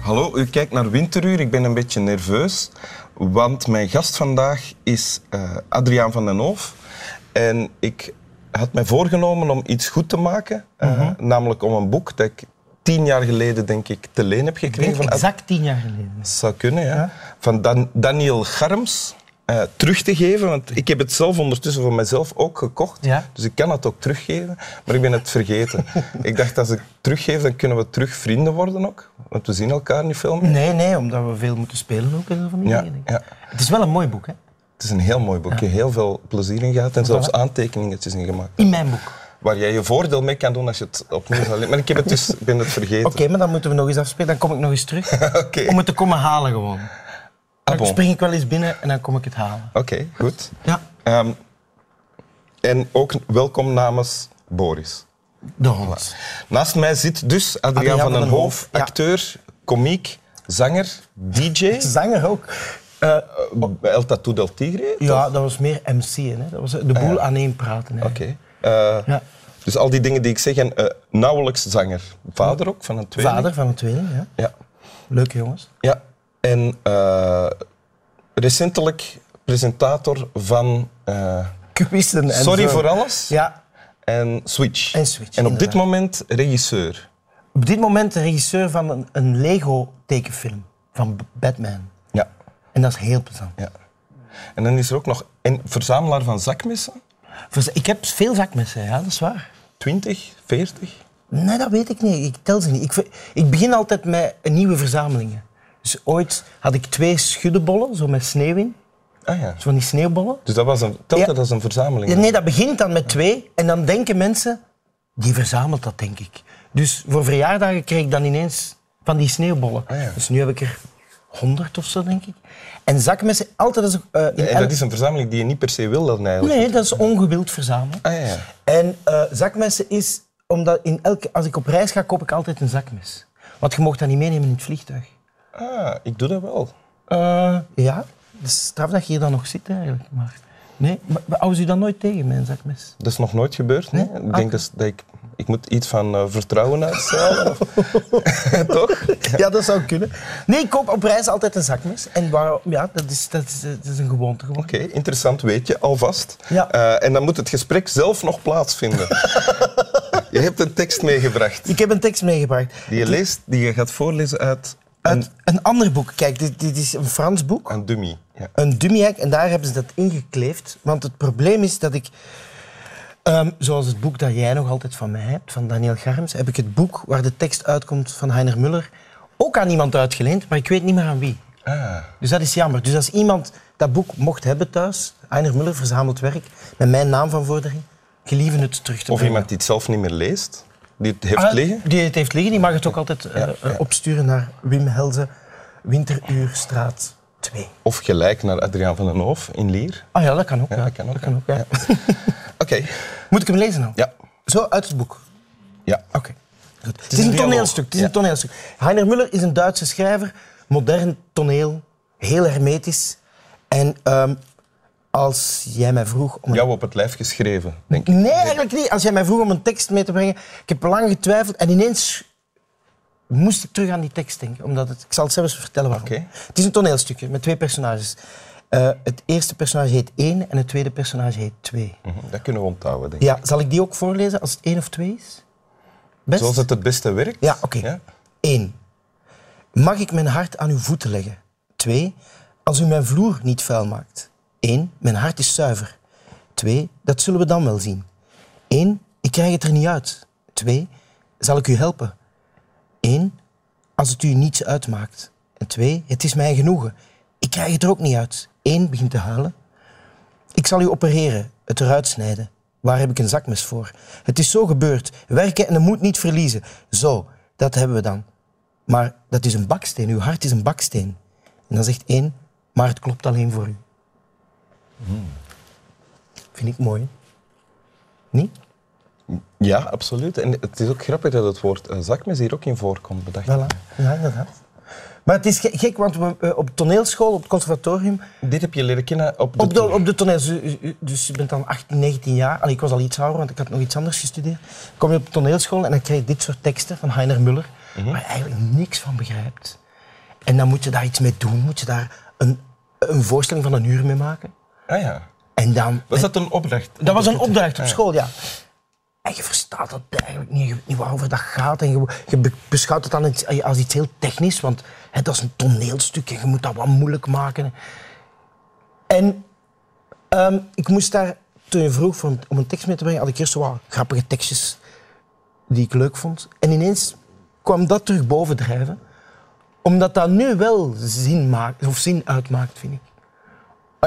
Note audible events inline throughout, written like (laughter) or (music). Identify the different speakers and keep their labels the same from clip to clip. Speaker 1: Hallo, u kijkt naar Winteruur. Ik ben een beetje nerveus, want mijn gast vandaag is eh, Adriaan van den Hoof. En ik had mij voorgenomen om iets goed te maken, eh,
Speaker 2: Mhm.
Speaker 1: namelijk om een boek dat ik tien jaar geleden, denk ik, te leen heb
Speaker 2: Ik
Speaker 1: gekregen.
Speaker 2: denk
Speaker 1: van Ad-
Speaker 2: exact tien jaar geleden.
Speaker 1: zou kunnen, ja. Van Dan- Daniel Garms eh, terug te geven. Want ik heb het zelf ondertussen voor mezelf ook gekocht.
Speaker 2: Ja.
Speaker 1: Dus ik kan het ook teruggeven. Maar ik ben het
Speaker 2: (laughs)
Speaker 1: vergeten. ik dacht, als ik het teruggeef, dan kunnen we terug vrienden worden ook. Want we zien elkaar niet veel meer.
Speaker 2: Nee, nee, omdat we veel moeten spelen ook in de familie.
Speaker 1: Ja,
Speaker 2: denk ik.
Speaker 1: ja.
Speaker 2: Het is wel een mooi boek, hè?
Speaker 1: Het is een heel mooi boekje. Heel veel plezier in gehad. En zelfs aantekeningetjes in gemaakt.
Speaker 2: In mijn boek.
Speaker 1: Waar jij je voordeel mee kan doen als je het opnieuw zal lezen. Maar ik heb het dus,
Speaker 2: (laughs)
Speaker 1: ik ben het vergeten.
Speaker 2: Oké, maar dan moeten we nog eens afspelen. Dan kom ik nog eens (laughs) terug.
Speaker 1: Oké.
Speaker 2: Om het te komen halen
Speaker 1: Ah,
Speaker 2: gewoon. Dan
Speaker 1: bon. Oké,
Speaker 2: spring ik wel eens binnen en dan kom ik het halen.
Speaker 1: goed.
Speaker 2: Ja,
Speaker 1: Ehm, en ook welkom namens Boris.
Speaker 2: de hond.
Speaker 1: Naast mij zit dus Adriaan,
Speaker 2: Adriaan
Speaker 1: van den Hoof,
Speaker 2: ja.
Speaker 1: acteur, komiek, zanger, DJ.
Speaker 2: Zanger ook. Eh,
Speaker 1: El Tatu del Tigre?
Speaker 2: ja, dat was meer MC'en. Hè. Dat was de boel aan één praten. hè.
Speaker 1: Oké. Eh,
Speaker 2: Ja.
Speaker 1: Dus al die dingen die ik zeg en eh, nauwelijks zanger. Vader ook van een tweeling.
Speaker 2: Vader van een tweeling, ja.
Speaker 1: Ja.
Speaker 2: Leuke jongens.
Speaker 1: ja. En eh, recentelijk presentator van eh,
Speaker 2: (laughs) Quizzen en
Speaker 1: Sorry
Speaker 2: zo.
Speaker 1: voor alles
Speaker 2: Ja,
Speaker 1: en Switch.
Speaker 2: En Switch,
Speaker 1: En op dit
Speaker 2: inderdaad.
Speaker 1: moment regisseur.
Speaker 2: op dit moment de regisseur van een, een Lego-tekenfilm. Van B- Batman.
Speaker 1: Ja.
Speaker 2: En dat is heel plezant.
Speaker 1: ja. En dan is er ook nog een verzamelaar van zakmessen.
Speaker 2: Vers- Ik heb veel zakmessen, ja, dat is waar.
Speaker 1: 20, 40.
Speaker 2: Nee, dat weet ik niet. Ik tel ze niet. Ik, ver- ik begin altijd met een nieuwe verzamelingen. Dus ooit had ik twee schuddebollen, zo met sneeuw in.
Speaker 1: Ah ja.
Speaker 2: Zo van die sneeuwbollen.
Speaker 1: Dus dat was een, telt
Speaker 2: Ja.
Speaker 1: dat als een verzameling?
Speaker 2: Ja, nee, dat begint dan met twee. En dan denken mensen, die verzamelt dat, denk ik. Dus voor verjaardagen kreeg ik dan ineens van die sneeuwbollen.
Speaker 1: Ah, ja.
Speaker 2: Dus nu heb ik er honderd of zo, denk ik. En zakmessen, altijd als... eh, in
Speaker 1: En
Speaker 2: elk-
Speaker 1: dat is een verzameling die je niet per se wil dan eigenlijk.
Speaker 2: Nee, dat is ongewild verzamelen.
Speaker 1: Ah, ja, ja.
Speaker 2: En eh, zakmessen is, omdat in elke, als ik op reis ga, koop ik altijd een zakmes. Want je mag dat niet meenemen in het vliegtuig.
Speaker 1: Ah, ik doe dat wel.
Speaker 2: Eh, ja, dat is straf dat je hier dan nog zit eigenlijk. Maar, nee, maar, maar houdt u dan nooit tegen mijn zakmes?
Speaker 1: Dat is nog nooit gebeurd. Nee? Ik denk
Speaker 2: Ah.
Speaker 1: dus dat ik, ik moet iets van eh, vertrouwen uitstralen. of- (laughs) Toch?
Speaker 2: Ja, dat zou kunnen. Nee, ik koop op reis altijd een zakmes. En waarom? Ja, dat is, dat is, eh, dat is een gewoonte geworden.
Speaker 1: Oké, interessant weet je, alvast.
Speaker 2: Ja.
Speaker 1: Eh, en dan moet het gesprek zelf nog (laughs) plaatsvinden. je hebt een tekst meegebracht
Speaker 2: Ik heb een tekst meegebracht.
Speaker 1: die je, leest, die je gaat voorlezen uit
Speaker 2: Uit een ander boek. Kijk, dit, dit is een Frans boek.
Speaker 1: een dummy. Ja.
Speaker 2: een dummyhek en daar hebben ze dat ingekleefd. Want het probleem is dat ik, ehm, zoals het boek dat jij nog altijd van mij hebt, van Daniel Garms, heb ik het boek waar de tekst uitkomt van Heiner Muller ook aan iemand uitgeleend, maar ik weet niet meer aan wie.
Speaker 1: Ah,
Speaker 2: Dus dat is jammer. Dus als iemand dat boek mocht hebben thuis, Heiner Muller verzameld werk, met mijn naam van vordering, gelieven het terug te
Speaker 1: of
Speaker 2: brengen.
Speaker 1: iemand die het zelf niet meer leest, die het heeft
Speaker 2: Ah,
Speaker 1: liggen.
Speaker 2: Die het heeft liggen, die mag het ook altijd eh, eh, opsturen naar Wim Helze, Winteruurstraat 2.
Speaker 1: Of gelijk naar Adriaan van den Hoof in Lier.
Speaker 2: Ah ja, dat kan ook.
Speaker 1: Ja,
Speaker 2: ja.
Speaker 1: dat kan ook,
Speaker 2: ja.
Speaker 1: ja. Oké.
Speaker 2: Moet ik hem lezen nou?
Speaker 1: Ja.
Speaker 2: Zo, uit het boek.
Speaker 1: Ja.
Speaker 2: Oké. Goed. Het is een,
Speaker 1: dialoog.
Speaker 2: toneelstuk. Het is
Speaker 1: Ja.
Speaker 2: een toneelstuk. Heiner Muller is een Duitse schrijver, modern toneel, heel hermetisch. En ehm, als jij mij vroeg om een...
Speaker 1: Jou op het lijf geschreven, denk ik.
Speaker 2: Nee, eigenlijk niet. Als jij mij vroeg om een tekst mee te brengen, ik heb lang getwijfeld en ineens moest ik terug aan die tekst denken. Omdat het, ik zal het zelfs vertellen waarom.
Speaker 1: Oké.
Speaker 2: Het is een toneelstukje met twee personages. Eh, het eerste personage heet één en het tweede personage heet twee.
Speaker 1: Mhm, Dat kunnen we onthouden, denk ik.
Speaker 2: Ja, zal ik die ook voorlezen als het één of twee is? Best?
Speaker 1: Zoals het het beste werkt.
Speaker 2: Ja, oké. Eén. Mag ik mijn hart aan uw voeten leggen? Twee. Als u mijn vloer niet vuil maakt. Eén. Mijn hart is zuiver. Twee. Dat zullen we dan wel zien. Eén. Ik krijg het er niet uit. Twee. Zal ik u helpen? Eén. Als het u niets uitmaakt. En twee. Het is mij genoegen. Ik krijg het er ook niet uit. Eén. Begint te huilen. Ik zal u opereren, het eruit snijden. Waar heb ik een zakmes voor? Het is zo gebeurd. Werken en de moed niet verliezen. Zo, dat hebben we dan. Maar dat is een baksteen. Uw hart is een baksteen. En dan zegt één, maar het klopt alleen voor u. Vind ik mooi. hè? Niet?
Speaker 1: Ja, absoluut. En het is ook grappig dat het woord eh, zakmes hier ook in voorkomt, bedacht. ik.
Speaker 2: Voilà. Ja, inderdaad. Maar het is ge- gek, want we, eh, op toneelschool, op het conservatorium,
Speaker 1: Dit heb je leren kennen op de,
Speaker 2: Op de,
Speaker 1: tour.
Speaker 2: op de toneel, dus- dus je bent dan 18, 19 jaar. Allee, ik was al iets ouder, want ik had nog iets anders gestudeerd. Dan kom je
Speaker 1: Mhm.
Speaker 2: op de toneelschool en dan krijg je dit soort teksten van Heiner Muller, waar je eigenlijk niks van begrijpt. En dan moet je daar iets mee doen. Moet je daar een, een voorstelling van een uur mee maken.
Speaker 1: Ah ja.
Speaker 2: En dan...
Speaker 1: Was dat een opdracht?
Speaker 2: Dat was een opdracht op school, ja. En je verstaat dat eigenlijk niet, je weet niet waarover dat gaat. En je, je be- beschouwt het dan iets- als iets heel technisch, want hè, dat is een toneelstuk en je moet dat wat moeilijk maken. En ehm, ik moest daar, toen je vroeg voor een- om een tekst mee te brengen, had ik eerst zo wat grappige tekstjes die ik leuk vond. En ineens kwam dat terug bovendrijven, omdat dat nu wel zin, maakt, of zin uitmaakt, vind ik.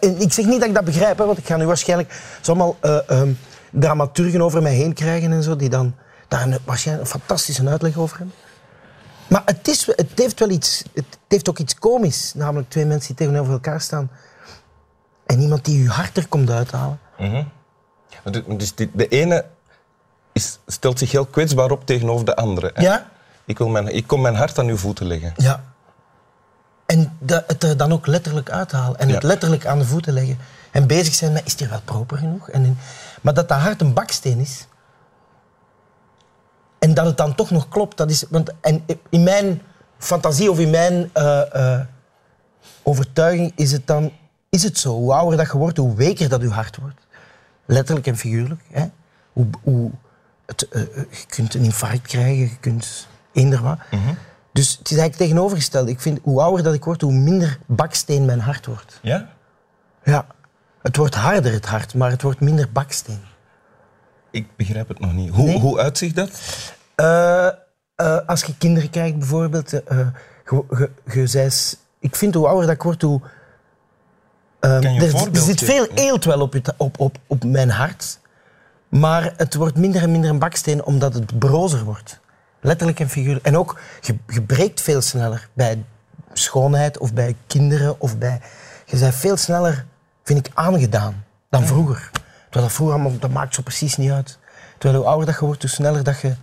Speaker 2: En eh, ik zeg niet dat ik dat begrijp, hè, want ik ga nu waarschijnlijk zo allemaal eh, ehm, dramaturgen over mij heen krijgen en zo, die dan daar een, waarschijnlijk een fantastische uitleg over hebben. Maar het, is, het heeft wel iets, het heeft ook iets komisch, namelijk twee mensen die tegenover elkaar staan en iemand die je hart er komt uithalen.
Speaker 1: Maar de- Dus die- de ene is, stelt zich heel kwetsbaar op tegenover de andere. hè?
Speaker 2: Ja?
Speaker 1: Ik, wil mijn, ik kom mijn hart aan uw voeten leggen.
Speaker 2: Ja. En dat, het er dan ook letterlijk uithalen en het
Speaker 1: Ja.
Speaker 2: letterlijk aan de voeten leggen en bezig zijn met is het hier wel proper genoeg? En, en- maar dat dat hart een baksteen is, En dat het dan toch nog klopt, dat is. Want en in mijn fantasie of in mijn eh, eh, overtuiging is het dan. Is het zo? Hoe ouder dat je wordt, hoe weker dat je hart wordt. Letterlijk en figuurlijk. Hè? Hoe, hoe het, eh, eh, je kunt een infarct krijgen, je kunt eender wat. Dus het is eigenlijk tegenovergesteld. Ik vind hoe ouder dat ik word, hoe minder baksteen mijn hart wordt.
Speaker 1: Ja?
Speaker 2: Ja. Het wordt harder, het hart, maar het wordt minder baksteen.
Speaker 1: Ik begrijp het nog niet. Hoe,
Speaker 2: Nee.
Speaker 1: hoe uitziet dat?
Speaker 2: Eh, eh, als je kinderen krijgt, bijvoorbeeld, eh, eh, ge- ge- ge- zij is- ik vind hoe ouder dat ik word, hoe. eh,
Speaker 1: Kan je een
Speaker 2: er, er
Speaker 1: voorbeeld
Speaker 2: zit
Speaker 1: geven?
Speaker 2: veel eelt wel op, je ta- op, op, op mijn hart, maar het wordt minder en minder een baksteen omdat het brozer wordt. Letterlijk en figuurlijk. En ook, je, je breekt veel sneller bij schoonheid of bij kinderen of bij. Je bent veel sneller, vind ik, aangedaan dan vroeger. Terwijl dat vroeger allemaal, dat maakt zo precies niet uit. Terwijl hoe ouder dat je wordt, hoe sneller dat je.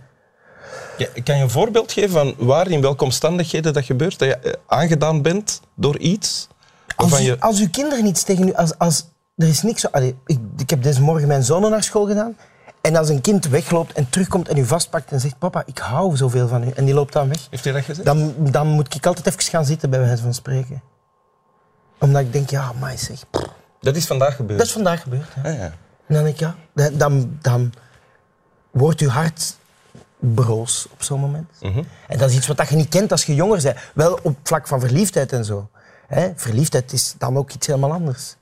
Speaker 1: Ja, kan je een voorbeeld geven van waar, in welke omstandigheden dat gebeurt? Dat je eh, aangedaan bent door iets?
Speaker 2: Als,
Speaker 1: Waarvan
Speaker 2: u-
Speaker 1: je...
Speaker 2: als uw kinderen iets tegen u... Als, als, er is niks... zo- Allee, ik, ik heb deze morgen mijn zonen naar school gedaan. En als een kind wegloopt en terugkomt en u vastpakt en zegt... Papa, ik hou zoveel van u. En die loopt dan weg.
Speaker 1: Heeft hij dat gezegd?
Speaker 2: Dan, dan moet ik altijd even gaan zitten, bij wijze van spreken. Omdat ik denk, ja, maar zeg... pff,
Speaker 1: Dat is vandaag gebeurd.
Speaker 2: Dat is vandaag gebeurd. Hè.
Speaker 1: Ah, ja.
Speaker 2: En dan denk ik, ja... Dan, dan, dan wordt uw hart broos op zo'n moment.
Speaker 1: Mhm.
Speaker 2: En dat is iets wat dat je niet kent als je jonger bent. Wel op vlak van verliefdheid en zo. Hè? Verliefdheid is dan ook iets helemaal anders.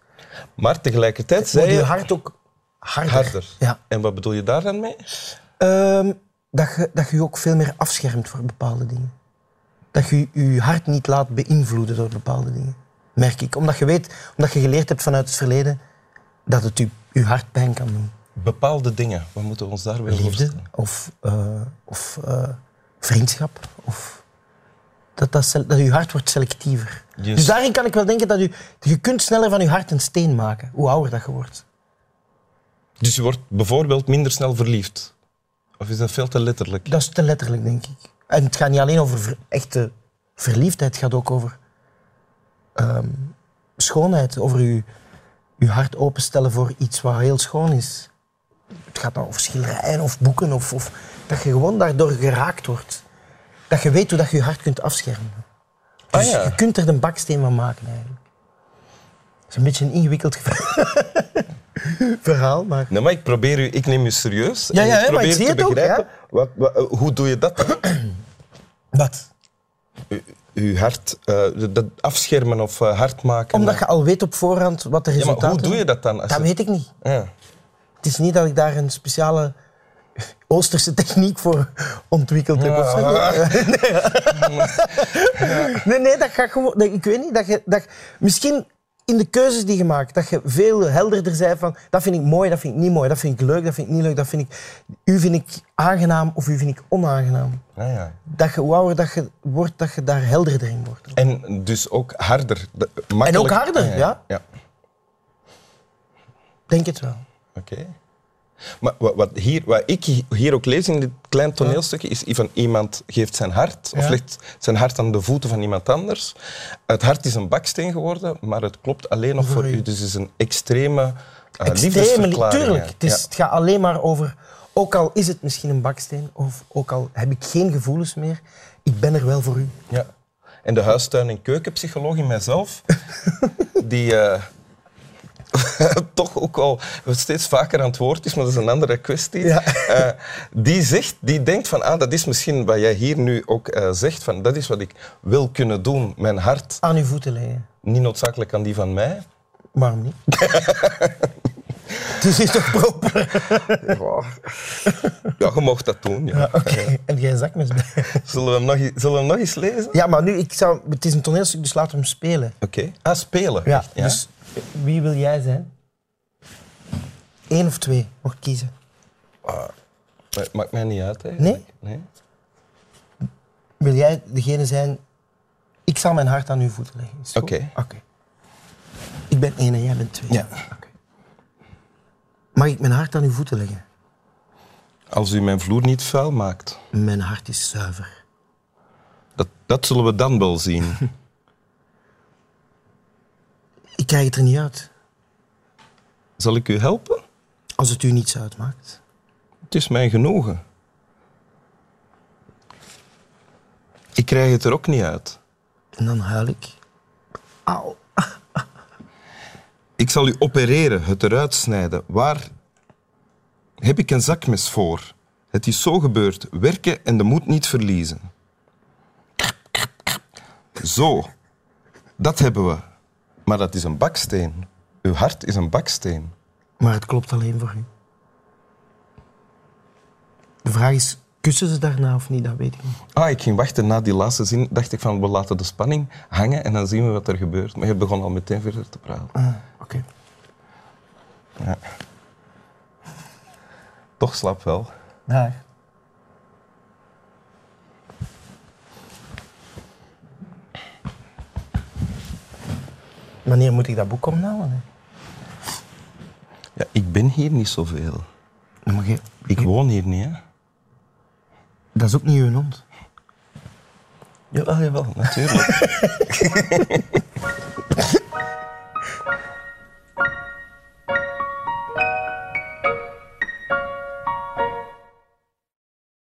Speaker 1: Maar tegelijkertijd zei
Speaker 2: Wordt je
Speaker 1: je
Speaker 2: hart ook harder.
Speaker 1: harder.
Speaker 2: Ja.
Speaker 1: En wat bedoel je daar dan mee?
Speaker 2: Ehm, dat, je, dat je je ook veel meer afschermt voor bepaalde dingen. Dat je je hart niet laat beïnvloeden door bepaalde dingen. Merk ik. Omdat je weet, omdat je geleerd hebt vanuit het verleden, dat het je, je hart pijn kan doen.
Speaker 1: Bepaalde dingen. Wat moeten we ons daar weer
Speaker 2: Liefde
Speaker 1: voorstellen?
Speaker 2: of, eh, of eh, vriendschap. Of dat, dat, sel- dat je hart wordt selectiever.
Speaker 1: Yes.
Speaker 2: Dus daarin kan ik wel denken dat je, je kunt sneller van je hart een steen maken. Hoe ouder dat je wordt.
Speaker 1: Dus je wordt bijvoorbeeld minder snel verliefd. Of is dat veel te letterlijk?
Speaker 2: Dat is te letterlijk, denk ik. En het gaat niet alleen over ver- echte verliefdheid, het gaat ook over ehm, schoonheid, over je, je hart openstellen voor iets wat heel schoon is. Het gaat dan over schilderijen of boeken, of, of dat je gewoon daardoor geraakt wordt. Dat je weet hoe dat je je hart kunt afschermen. Dus
Speaker 1: Ah, ja.
Speaker 2: je kunt er een baksteen van maken eigenlijk. Het is een beetje een ingewikkeld (laughs) ge- verhaal, maar...
Speaker 1: Nee, maar ik probeer u, ik neem u serieus.
Speaker 2: Ja,
Speaker 1: en
Speaker 2: ja,
Speaker 1: ik
Speaker 2: hè, maar
Speaker 1: probeer
Speaker 2: ik zie
Speaker 1: te
Speaker 2: het ook,
Speaker 1: begrijpen. wat, wat- eh, hoe doe je dat dan? (clears throat)
Speaker 2: Wat?
Speaker 1: U- Uw hart, eh, dat afschermen of eh, hard maken.
Speaker 2: Omdat je al weet op voorhand wat de
Speaker 1: ja,
Speaker 2: resultaten
Speaker 1: maar hoe doe
Speaker 2: zijn.
Speaker 1: je dat dan? Als
Speaker 2: Dat
Speaker 1: het-
Speaker 2: weet ik niet.
Speaker 1: ja.
Speaker 2: Het is niet dat ik daar een speciale Oosterse techniek voor ontwikkeld heb. of zo. Nee, nee, nee, dat gaat gewoon. nee, ik weet niet. Dat je, dat, je- misschien in de keuzes die je maakt, dat je veel helderder bent van dat vind ik mooi, dat vind ik niet mooi, dat vind ik leuk, dat vind ik niet leuk, dat vind ik, u vind ik aangenaam of u vind ik onaangenaam.
Speaker 1: Ah, ja.
Speaker 2: Dat je, hoe ouder dat je wordt, dat je daar helderder in wordt.
Speaker 1: En dus ook harder. de- makkelijk-
Speaker 2: En ook harder,
Speaker 1: Ah,
Speaker 2: ja.
Speaker 1: ja.
Speaker 2: Denk het wel.
Speaker 1: Oké. Maar wat, wat hier, wat ik hi- hier ook lees in dit klein toneelstukje is van iemand geeft zijn hart of
Speaker 2: Ja.
Speaker 1: legt zijn hart aan de voeten van iemand anders. Het hart is een baksteen geworden, maar het klopt alleen nog voor
Speaker 2: u.
Speaker 1: u. Dus het is een extreme, eh
Speaker 2: Extreme, li-
Speaker 1: liefdesverklaring.
Speaker 2: tuurlijk. Het, is,
Speaker 1: Ja.
Speaker 2: het gaat alleen maar over, ook al is het misschien een baksteen, of ook al heb ik geen gevoelens meer, ik ben er wel voor u.
Speaker 1: Ja. En de huistuin- en keukenpsycholoog in mijzelf, die eh, (laughs) toch ook al steeds vaker aan het woord is, maar dat is een andere kwestie.
Speaker 2: Ja.
Speaker 1: Eh, die, zegt, die denkt van, ah, dat is misschien wat jij hier nu ook eh, zegt, van, dat is wat ik wil kunnen doen, mijn hart.
Speaker 2: Aan uw voeten leggen.
Speaker 1: Niet noodzakelijk aan die van mij.
Speaker 2: Waarom niet? (laughs) dus is toch
Speaker 1: (laughs)
Speaker 2: proper?
Speaker 1: Ja, je mocht dat doen. Ja.
Speaker 2: Oké, (laughs) en jij zakmes bij.
Speaker 1: Zullen, we hem nog, eens- zullen we hem nog eens lezen?
Speaker 2: (laughs) Ja, maar nu, ik zou, het is een toneelstuk, dus laten we hem spelen.
Speaker 1: Oké. Ah, spelen.
Speaker 2: Ja,
Speaker 1: Echt,
Speaker 2: dus wie wil jij zijn? Eén of twee, mag kiezen.
Speaker 1: Maar het maakt mij niet uit, eigenlijk. Nee?
Speaker 2: Wil jij degene zijn... Ik zal mijn hart aan uw voeten leggen. Is het goed?
Speaker 1: Oké.
Speaker 2: Oké. Ik ben één en jij bent twee.
Speaker 1: Ja.
Speaker 2: Oké. Mag ik mijn hart aan uw voeten leggen?
Speaker 1: Als u mijn vloer niet vuil maakt,
Speaker 2: Mijn hart is zuiver.
Speaker 1: dat, dat zullen we dan wel zien.
Speaker 2: Ik krijg het er niet uit.
Speaker 1: Zal ik u helpen?
Speaker 2: Als het u niets uitmaakt.
Speaker 1: Het is mijn genoegen. Ik krijg het er ook niet uit.
Speaker 2: En dan huil ik. Au.
Speaker 1: Ik zal u opereren, het eruit snijden. Waar heb ik een zakmes voor? Het is zo gebeurd. Werken en de moed niet verliezen. Zo, dat hebben we. Maar dat is een baksteen. Uw hart is een baksteen.
Speaker 2: Maar het klopt alleen voor u. De vraag is, kussen ze daarna of niet? Dat weet ik niet.
Speaker 1: Ah, ik ging wachten na die laatste zin. Dacht ik van, we laten de spanning hangen en dan zien we wat er gebeurt. Maar je begon al meteen verder te praten.
Speaker 2: Ah, Oké.
Speaker 1: Toch slap wel.
Speaker 2: Dag. Wanneer moet ik dat boek omnalen? hè?
Speaker 1: Ja, ik ben hier niet zoveel.
Speaker 2: Dan mag je-
Speaker 1: Ik woon hier niet, hè.
Speaker 2: Dat is ook niet uw hond.
Speaker 1: Jawel, jawel, natuurlijk.